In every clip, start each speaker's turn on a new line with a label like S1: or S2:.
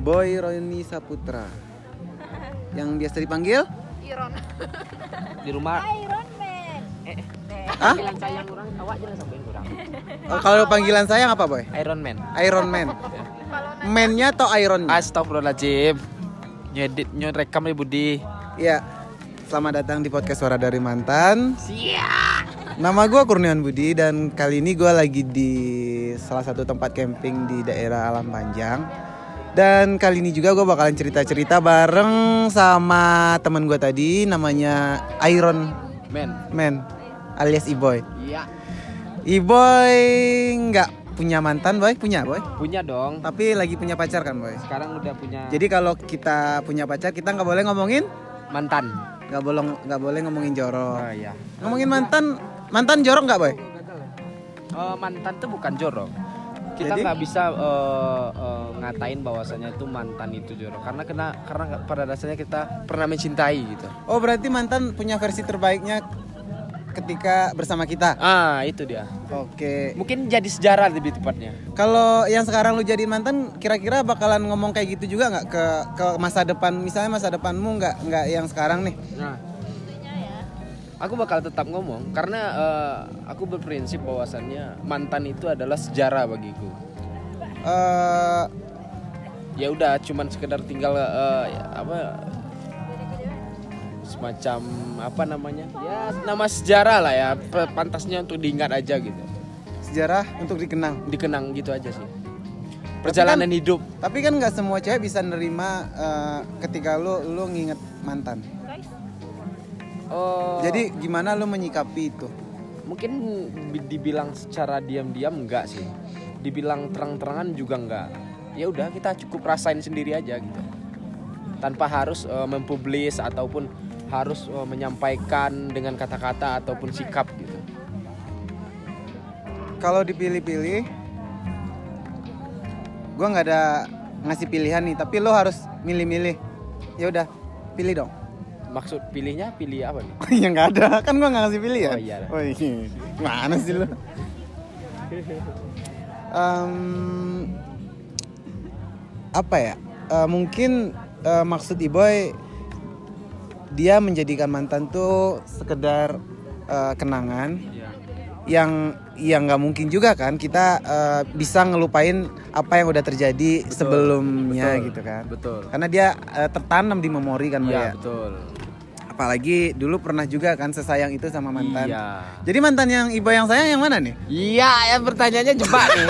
S1: Boy Roni Saputra yang biasa dipanggil
S2: Iron.
S3: di rumah
S4: Iron Man
S1: Hah?
S3: panggilan sayang kurang awak jangan sampein kurang
S1: Oh, kalau panggilan sayang apa boy
S3: Iron Man
S1: Iron Man Man-nya atau Iron Man
S3: Astagfirullahaladzim nyedit nyerekam nih Budi
S1: Iya Selamat datang di podcast Suara dari Mantan Nama gue Kurniawan Budi dan kali ini gue lagi di salah satu tempat camping di daerah Alam Panjang Dan kali ini juga gue bakalan cerita-cerita bareng sama teman gue tadi namanya Iron
S3: Men
S1: Man alias Iboy
S3: iya
S1: Iboy nggak punya mantan boy, punya boy
S3: punya dong
S1: Tapi lagi punya pacar kan boy
S3: sekarang udah punya
S1: Jadi kalau kita punya pacar kita nggak boleh ngomongin
S3: mantan
S1: nggak boleh nggak boleh ngomongin jorok.
S3: iya
S1: Ngomongin mantan mantan jorok nggak boy?
S3: Eh, mantan tuh bukan jorok kita
S1: Jadi?
S3: nggak bisa eh, eh, ngatain bahwasanya itu mantan itu jorok karena kena karena nggak- pada dasarnya kita pernah mencintai gitu
S1: Oh berarti mantan punya versi terbaiknya ketika bersama kita.
S3: ah itu dia
S1: Oke.
S3: mungkin jadi sejarah lebih tepatnya
S1: Kalau yang sekarang lu jadi mantan, kira-kira bakalan ngomong kayak gitu juga nggak ke ke masa depan? Misalnya masa depanmu nggak nggak yang sekarang nih?
S3: nah aku bakal tetap ngomong karena eh, aku berprinsip bahwasannya mantan itu adalah sejarah bagiku
S1: Eh,
S3: ya udah cuman sekedar tinggal eh, apa semacam apa namanya ya nama sejarah lah ya pe- pantasnya untuk diingat aja gitu
S1: sejarah untuk dikenang.
S3: dikenang gitu aja sih perjalanan hidup
S1: Tapi kan nggak semua cewek bisa nerima eh, ketika lu lu nginget mantan.
S3: oh
S1: Jadi gimana lu menyikapi itu?
S3: mungkin bi- dibilang secara diam-diam enggak sih dibilang terang-terangan juga enggak ya udah kita cukup rasain sendiri aja gitu tanpa harus eh, mempublis ataupun harus eh, menyampaikan dengan kata-kata ataupun sikap gitu
S1: kalau dipilih-pilih gue nggak ada ngasih pilihan nih tapi lo harus milih-milih ya udah pilih dong
S3: maksud pilihnya pilih apa nih
S1: ya nggak ada kan gue nggak ngasih pilihan
S3: Oh, iya.
S1: oh, iya. mana sih lo Em, apa ya Eh, mungkin eh, maksud Iboy dia menjadikan mantan tuh sekedar eh, kenangan
S3: Iya.
S1: yang yang nggak mungkin juga kan kita eh, bisa ngelupain apa yang udah terjadi sebelumnya gitu kan
S3: betul
S1: karena dia eh, tertanam di memori kan
S3: iya
S1: Mbak, ya
S3: betul
S1: apalagi dulu pernah juga kan sesayang itu sama mantan
S3: iya
S1: jadi mantan yang ibu yang sayang yang mana nih
S3: iya ya pertanyaannya jebak nih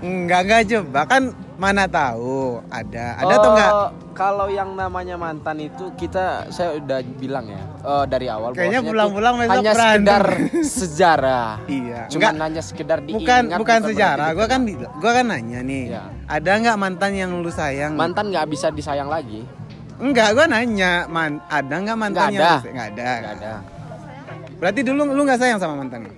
S1: enggak enggak aja bahkan mana tahu ada ada atau enggak
S3: Eh, kalau yang namanya mantan itu kita saya udah bilang ya eh, dari awal
S1: Kayaknya
S3: bahwasanya
S1: pulang-pulang
S3: tuh
S1: besok
S3: hanya
S1: berantem.
S3: sekedar sejarah
S1: iya
S3: cuman
S1: enggak
S3: hanya sekedar diingat gitu
S1: bukan bukan
S3: berarti
S1: sejarah gua kan
S3: dikenang.
S1: bila- gua kan nanya nih
S3: Iya.
S1: ada nggak mantan yang lu sayang
S3: mantan nggak bisa disayang lagi
S1: enggak gua nanya man ada nggak mantan
S3: Nggak
S1: yang
S3: ada.
S1: lu sayang? enggak ada
S3: nggak ada
S1: Berarti dulu lu nggak sayang sama mantan? lu?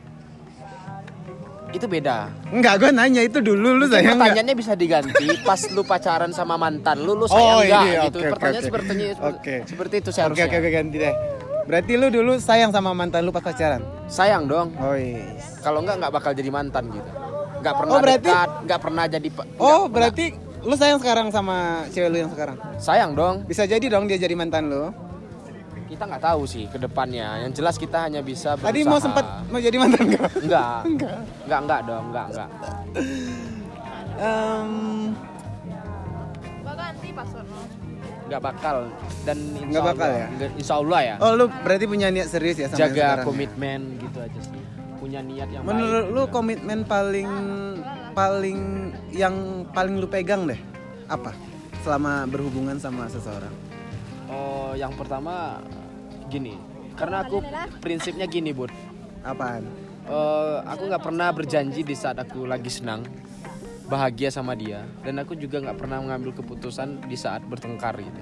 S3: itu beda
S1: Enggak, gue nanya itu dulu lu sayang Iya, nggak?
S3: pertanyaannya bisa diganti pas lu pacaran sama mantan lu
S1: Oh,
S3: lu sayang nggak
S1: iya,
S3: gitu
S1: oke, oke,
S3: pertanyaan
S1: oke.
S3: sepertinya
S1: Oke.
S3: seperti itu
S1: Oke
S3: seharusnya
S1: oke oke ganti deh. Berarti lu dulu sayang sama mantan lu pas pacaran?
S3: sayang dong
S1: Oh
S3: kalau nggak nggak bakal jadi mantan gitu nggak pernah
S1: Oh, berarti-
S3: dekat nggak pernah jadi pe-
S1: Oh
S3: nggak
S1: berarti lu sayang sekarang sama cewek lu yang sekarang?
S3: pernah. sayang dong
S1: Bisa jadi dong dia jadi mantan lu.
S3: kita nggak tahu sih ke depannya yang jelas kita hanya bisa berusaha.
S1: Tadi mau sempat mau jadi mantan gak?
S3: nggak nggak nggak dong nggak nggak
S1: Em,
S2: Gua ganti password lo.
S3: nggak bakal dan insya
S1: Nggak bakal
S3: Allah-
S1: ya?
S3: nggak- insya Allah ya
S1: oh lu berarti punya niat serius ya sama yang
S3: jaga
S1: sekarang ya?
S3: komitmen gitu aja sih punya niat yang
S1: Menurut
S3: baik
S1: lu komitmen paling paling yang paling lu pegang deh apa? Selama berhubungan sama seseorang?
S3: oh yang pertama gini karena aku prinsipnya gini bud
S1: Apaan?
S3: Eh, aku nggak pernah berjanji di saat aku lagi senang bahagia sama dia dan aku juga nggak pernah mengambil keputusan di saat bertengkar gitu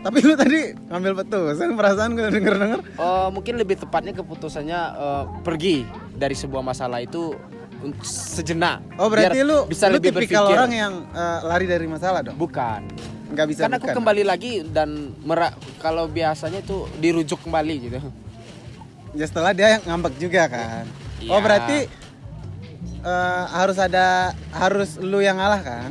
S1: Tapi lu tadi ngambil petusan perasaan gue denger denger.
S3: Eh, mungkin lebih tepatnya keputusannya eh, pergi dari sebuah masalah itu un- sejenak
S1: Oh berarti
S3: Biar
S1: lu
S3: bisa
S1: lu
S3: lebih
S1: tipikal
S3: berpikir.
S1: orang yang eh, lari dari masalah dong.
S3: bukan
S1: Nggak bisa.
S3: karena aku
S1: bukan.
S3: kembali lagi dan mera- kalau biasanya itu dirujuk kembali gitu
S1: Ya setelah dia yang ngambek juga kan. Oh
S3: Iya.
S1: berarti eh, harus ada harus lu yang ngalah kan?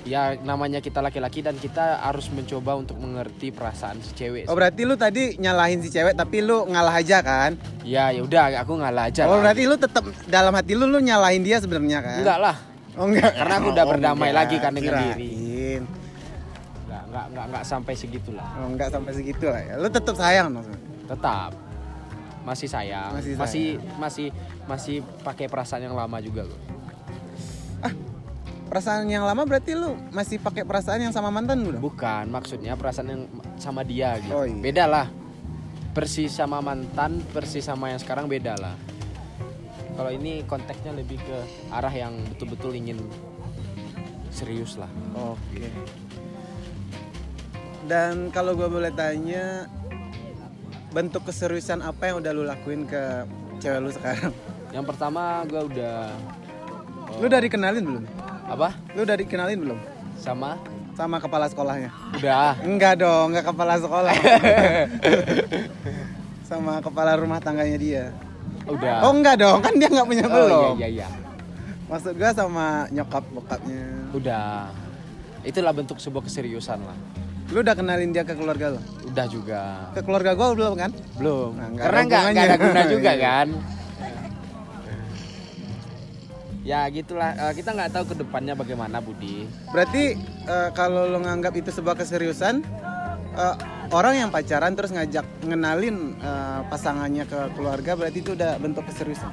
S3: ya namanya kita laki-laki dan kita harus mencoba untuk mengerti perasaan si cewek
S1: Oh berarti lu tadi nyalahin si cewek tapi lu ngalah aja kan?
S3: ya ya udah aku ngalah aja
S1: Oh
S3: lah.
S1: berarti lu tetap dalam hati lu lu nyalahin dia sebenarnya kan?
S3: enggak lah
S1: Oh enggak.
S3: Karena aku udah
S1: Oh,
S3: berdamai
S1: enggak.
S3: lagi kan dengan
S1: Kirain.
S3: diri. enggak enggak enggak, enggak sampai segitulah
S1: Oh enggak sampai segitu lah ya. Lu tetap sayang maksudnya.
S3: tetap masih sayang
S1: Masih
S3: masih
S1: sayang.
S3: masih masih, pakai perasaan yang lama juga loh
S1: Perasaan yang lama berarti lu masih pakai perasaan yang sama mantan lu dong?
S3: bukan maksudnya perasaan yang sama dia gitu
S1: Oh, iya.
S3: beda lah persis sama mantan persis sama yang sekarang beda lah kalau ini konteksnya lebih ke arah yang betul-betul ingin serius lah
S1: Oke. Dan kalau gue boleh tanya bentuk keseriusan apa yang udah lu lakuin ke cewek lu sekarang?
S3: yang pertama gue udah
S1: Lu
S3: Oh.
S1: udah dikenalin belum?
S3: apa
S1: Lu udah dikenalin belum?
S3: sama
S1: Sama kepala sekolahnya?
S3: udah
S1: Enggak dong, enggak kepala sekolah. Sama kepala rumah tangganya dia.
S3: udah
S1: Oh enggak dong, kan dia enggak punya
S3: Ah. Oh,
S1: belum.
S3: iya iya iya
S1: Maksud gue sama nyokap bokapnya.
S3: udah itulah bentuk sebuah keseriusan lah
S1: Lu udah kenalin dia ke keluarga lo?
S3: udah juga
S1: Ke keluarga gue belum kan?
S3: Belum.
S1: Nah, nggak
S3: Karena
S1: ada
S3: nggak nggak ada
S1: hubungannya.
S3: guna juga kan. Ya gitulah. Eh, kita nggak tahu kedepannya bagaimana Budi.
S1: Berarti eh, kalau lo nganggap itu sebuah keseriusan, eh, orang yang pacaran terus ngajak ngenalin eh, pasangannya ke keluarga berarti itu udah bentuk keseriusan.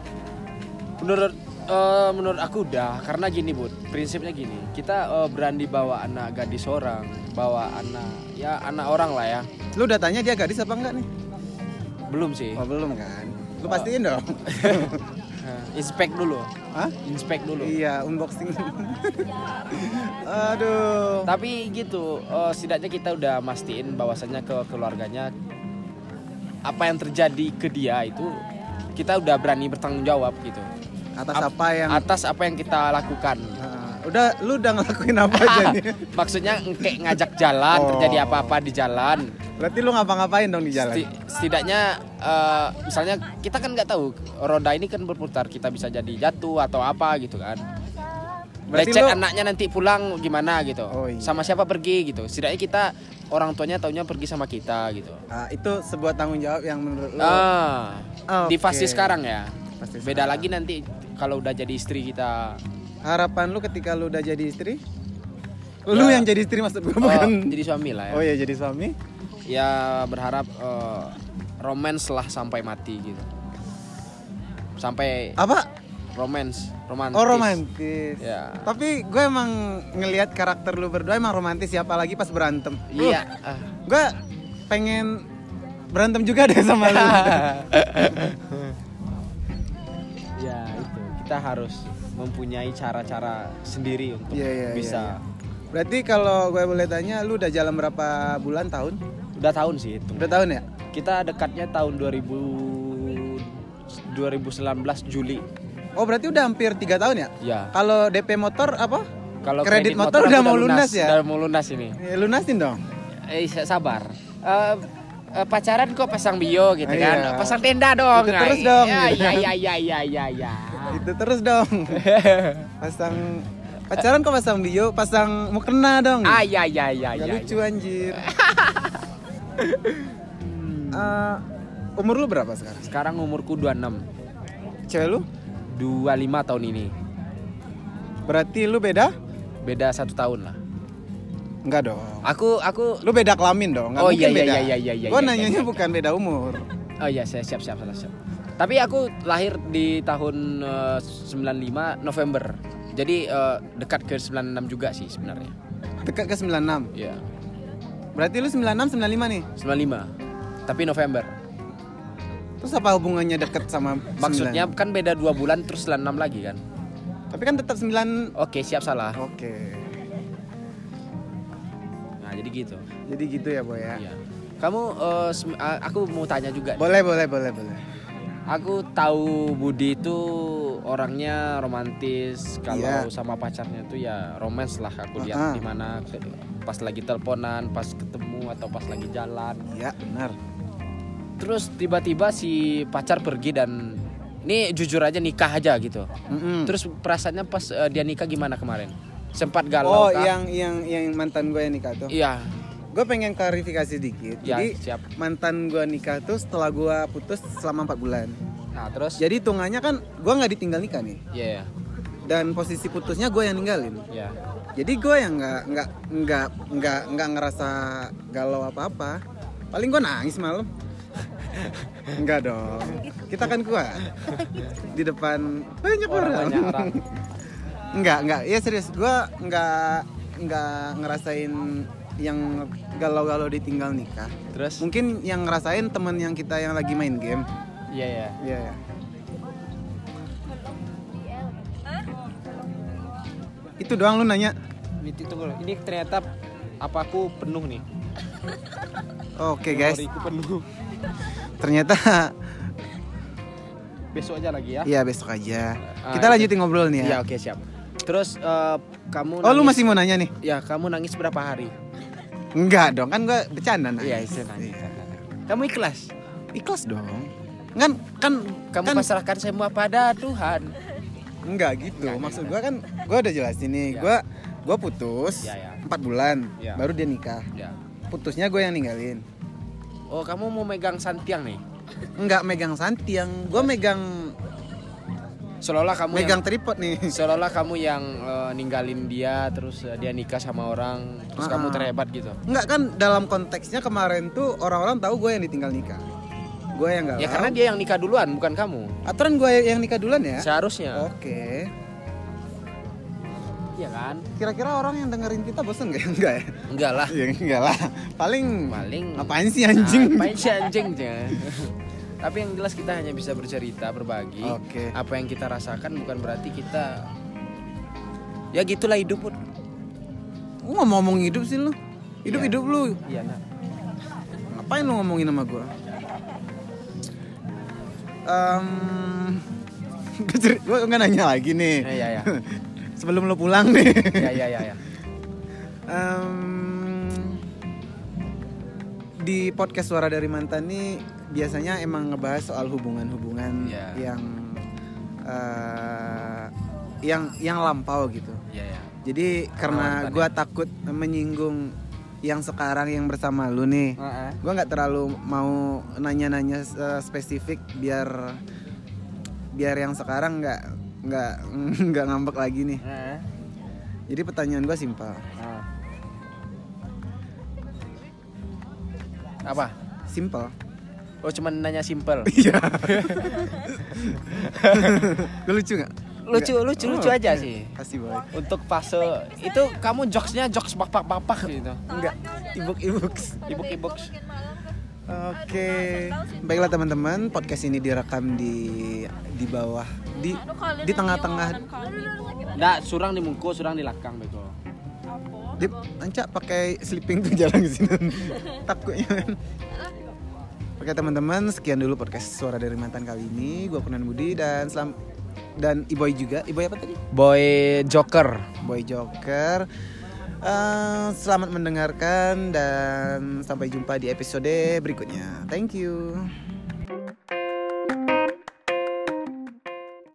S3: Menurut eh, menurut aku udah. Karena gini Bud. Prinsipnya gini. Kita eh, berani bawa anak gadis orang, bawa anak ya anak orang lah ya.
S1: Lu udah tanya dia gadis apa enggak nih?
S3: Belum sih.
S1: Oh belum kan? Lu pastiin dong.
S3: Inspect Nah, dulu.
S1: Hah?
S3: Inspect dulu.
S1: Iya, unboxing. Aduh.
S3: Tapi gitu, eh, setidaknya kita udah mastiin bahwasannya ke keluarganya apa yang terjadi ke dia itu kita udah berani bertanggung jawab gitu.
S1: Atas
S3: Ap-
S1: apa yang
S3: Atas apa yang kita lakukan.
S1: Ah, udah lu udah ngelakuin apa aja nih?
S3: Maksudnya kayak ngajak jalan,
S1: Oh.
S3: terjadi apa-apa di jalan.
S1: Berarti lu ngapa-ngapain dong di jalan?
S3: Seti- Setidaknya eh, misalnya kita kan nggak tahu roda ini kan berputar, kita bisa jadi jatuh atau apa gitu kan.
S1: Berarti
S3: Lecet
S1: lu-
S3: anaknya nanti pulang gimana gitu.
S1: Oh, iya.
S3: Sama siapa pergi gitu. Setidaknya kita orang tuanya taunya pergi sama kita gitu.
S1: Ah, itu sebuah tanggung jawab yang menurut lu
S3: Ah,
S1: Oh. Oke.
S3: di fase sekarang ya.
S1: Fase
S3: Beda
S1: sekarang.
S3: lagi nanti kalau udah jadi istri kita
S1: harapan lu ketika lu udah jadi istri? Lu yang jadi istri maksud gue
S3: eh,
S1: bukan?
S3: jadi suami lah ya.
S1: Oh ya jadi suami?
S3: Ya berharap eh, romance lah sampai mati gitu. Sampai
S1: Apa?
S3: romance, romantis.
S1: Oh romantis.
S3: Ya.
S1: Tapi gue emang ngelihat karakter lu berdua emang romantis ya apalagi pas berantem.
S3: Iya.
S1: Uh, gue pengen berantem juga deh sama lu.
S3: ya itu. Kita harus mempunyai cara-cara sendiri untuk
S1: Iya, iya, iya,
S3: bisa.
S1: iya. Berarti kalau gue boleh tanya, lu udah jalan berapa bulan tahun?
S3: Udah tahun sih itu.
S1: Udah tahun ya?
S3: Kita dekatnya tahun 2000 2019 Juli.
S1: Oh berarti udah hampir tiga tahun ya?
S3: Ya.
S1: Kalau DP motor apa?
S3: Kalau
S1: kredit, motor, udah mau lunas, ya? iya,
S3: Udah mau lunas ini.
S1: Eh, lunasin dong.
S3: Eh sa- sabar. Eh, eh, pacaran kok pasang bio gitu
S1: Iya.
S3: kan. Pasang tenda dong.
S1: Itu terus
S3: Ay-
S1: dong.
S3: Ya ya ya ya ya ya. ya.
S1: Itu Gitu, terus dong. pasang pacaran kok pasang bio, pasang mukena dong.
S3: Ah ya ya ya
S1: Hmm. Gak
S3: ya.
S1: lucu anjir. Eh, umur lu berapa sekarang?
S3: Sekarang umurku 26.
S1: Cewek lu?
S3: 25 tahun ini.
S1: Berarti lu beda?
S3: Beda satu tahun lah.
S1: Enggak dong.
S3: Aku aku
S1: Lu beda kelamin dong. Nggak
S3: Oh,
S1: mungkin
S3: iya, iya,
S1: beda.
S3: iya, iya, iya,
S1: Gua
S3: iya,
S1: nanyanya
S3: iya, iya.
S1: bukan beda umur.
S3: Oh iya, saya siap siap salah siap. Tapi aku lahir di tahun eh, 95 November. Jadi eh, dekat ke 96 juga sih sebenarnya.
S1: Dekat ke 96.
S3: Iya.
S1: Berarti lu 96 95 nih.
S3: 95. Tapi November.
S1: Terus apa hubungannya deket sama 9?
S3: Maksudnya kan beda dua bulan terus 96 lagi kan.
S1: Tapi kan tetap 9.
S3: Oke, siap salah.
S1: Oke.
S3: Nah, jadi gitu.
S1: Jadi gitu ya, Boy ya.
S3: Iya. Kamu eh, sem- a- aku mau tanya juga.
S1: Boleh, boleh, boleh, boleh.
S3: Aku tahu Budi itu orangnya romantis kalau
S1: Iya.
S3: sama pacarnya tuh ya romance lah aku
S1: Ah.
S3: lihat di mana ke- pas lagi teleponan, pas ketemu atau pas lagi jalan.
S1: Iya, benar.
S3: Terus tiba-tiba si pacar pergi dan ini jujur aja nikah aja gitu.
S1: Mm-mm. Hmm.
S3: Terus perasaannya pas eh, dia nikah gimana kemarin? sempat galau
S1: Oh,
S3: kah?
S1: yang yang yang mantan gue yang nikah tuh.
S3: iya
S1: Gue pengen klarifikasi dikit.
S3: Ya,
S1: Jadi
S3: siap.
S1: mantan gue nikah tuh setelah gue putus selama 4 bulan.
S3: nah terus
S1: Jadi hitungannya kan gue nggak ditinggal nikah nih.
S3: iya
S1: Dan posisi putusnya gue yang ninggalin.
S3: iya
S1: Jadi gue yang nggak nggak nggak nggak nggak ngerasa galau apa apa. Paling gue nangis malam. Enggak dong. Kita kan kuat di depan banyak orang.
S3: orang banyak orang
S1: Enggak, enggak. Ya serius, gua enggak enggak ngerasain yang galau-galau ditinggal nikah.
S3: terus
S1: Mungkin yang ngerasain temen yang kita yang lagi main game.
S3: iya iya
S1: Iya. ya. Itu doang lu nanya.
S3: ini tunggu ini ternyata apa aku penuh nih
S1: Oke, guys.
S3: Memoriku penuh
S1: Ternyata
S3: besok aja lagi ya
S1: ya besok aja.
S3: Ah,
S1: Kita
S3: itu.
S1: lanjutin ngobrol nih
S3: Iya,
S1: ya.
S3: oke siap terus eh, kamu
S1: Oh, lu
S3: nangis-
S1: masih mau nanya nih?
S3: ya kamu nangis berapa hari
S1: Enggak dong, kan gua bercanda nanya.
S3: iya itu nangis kamu ikhlas
S1: Ikhlas dong. Kan kan
S3: kamu
S1: kan
S3: pasrahkan semua pada Tuhan
S1: Enggak gitu. Maksud gua kan gua udah jelasin nih.
S3: Ya.
S1: Gua gua putus
S3: Ya, ya.
S1: empat bulan
S3: Ya.
S1: baru dia nikah.
S3: ya
S1: Putusnya gue yang ninggalin.
S3: oh kamu mau megang santiang nih
S1: Enggak megang santiang, gua megang
S3: seolah-olah kamu
S1: megang
S3: Iya. yang,
S1: tripod nih.
S3: seolah-olah kamu yang eh, ninggalin dia terus eh, dia nikah sama orang terus
S1: Ah,
S3: kamu
S1: ah.
S3: terhebat gitu
S1: Enggak kan dalam konteksnya kemarin tuh orang-orang tahu gue yang ditinggal nikah. Gue yang enggak.
S3: ya karena dia yang nikah duluan bukan kamu
S1: aturan gue yang nikah duluan ya.
S3: seharusnya
S1: Oke.
S3: iya kan
S1: Kira-kira orang yang dengerin kita bosen gak? Enggak ya?
S3: enggak lah
S1: Ya enggak lah. Paling
S3: paling Nah.
S1: Apaan sih anjing?
S3: Apain Ah, sih anjing Jeng? Tapi yang jelas kita hanya bisa bercerita, berbagi.
S1: Oke.
S3: Apa yang kita rasakan bukan berarti kita ya gitulah hidup pun.
S1: Lu ngomong-ngomong hidup sih lu. Hidup-hidup lu.
S3: Iya nah.
S1: Ngapain lu ngomongin sama gue? Um, gue nggak nanya lagi nih.
S3: Iya iya.
S1: Sebelum lu pulang nih.
S3: Iya iya iya. Ya.
S1: Em, di podcast suara dari mantan nih biasanya emang ngebahas soal hubungan-hubungan
S3: Iya.
S1: yang eh, yang yang lampau gitu.
S3: Iya iya.
S1: Jadi karena
S3: Mantan ya.
S1: gue takut menyinggung yang sekarang yang bersama lu nih. gue nggak terlalu mau nanya-nanya eh, spesifik biar biar yang sekarang nggak nggak nggak ngambek lagi nih jadi pertanyaan gue simpel
S3: Apa?
S1: simpel
S3: Oh cuman nanya simple.
S1: iya lu lucu nggak
S3: Lucu lucu lucu
S1: Oh.
S3: aja sih.
S1: kasih boy
S3: Untuk fase itu kamu jokesnya jokes bapak-bapak gitu.
S1: nggak ibuk ibuk
S3: Ibuk-ibuk.
S1: oke baiklah teman-teman podcast ini direkam di di bawah di di tengah-tengah
S3: Nggak, surang di mungku, surang di lakang bego.
S1: Dip, ancak pakai sleeping tuh jalan ke sini. Takutnya kan. Oke teman-teman, sekian dulu podcast suara dari mantan kali ini. Gua Kurnan Budi dan selam dan Iboy juga. Iboy apa tadi?
S3: Boy Joker.
S1: Boy Joker. Eh, selamat mendengarkan dan sampai jumpa di episode berikutnya. Thank you.